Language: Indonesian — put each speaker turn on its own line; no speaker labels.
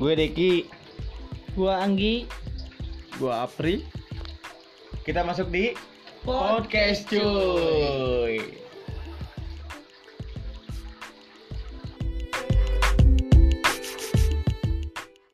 Gue Deki.
Gua Anggi
Gua Apri.
Kita masuk di podcast cuy.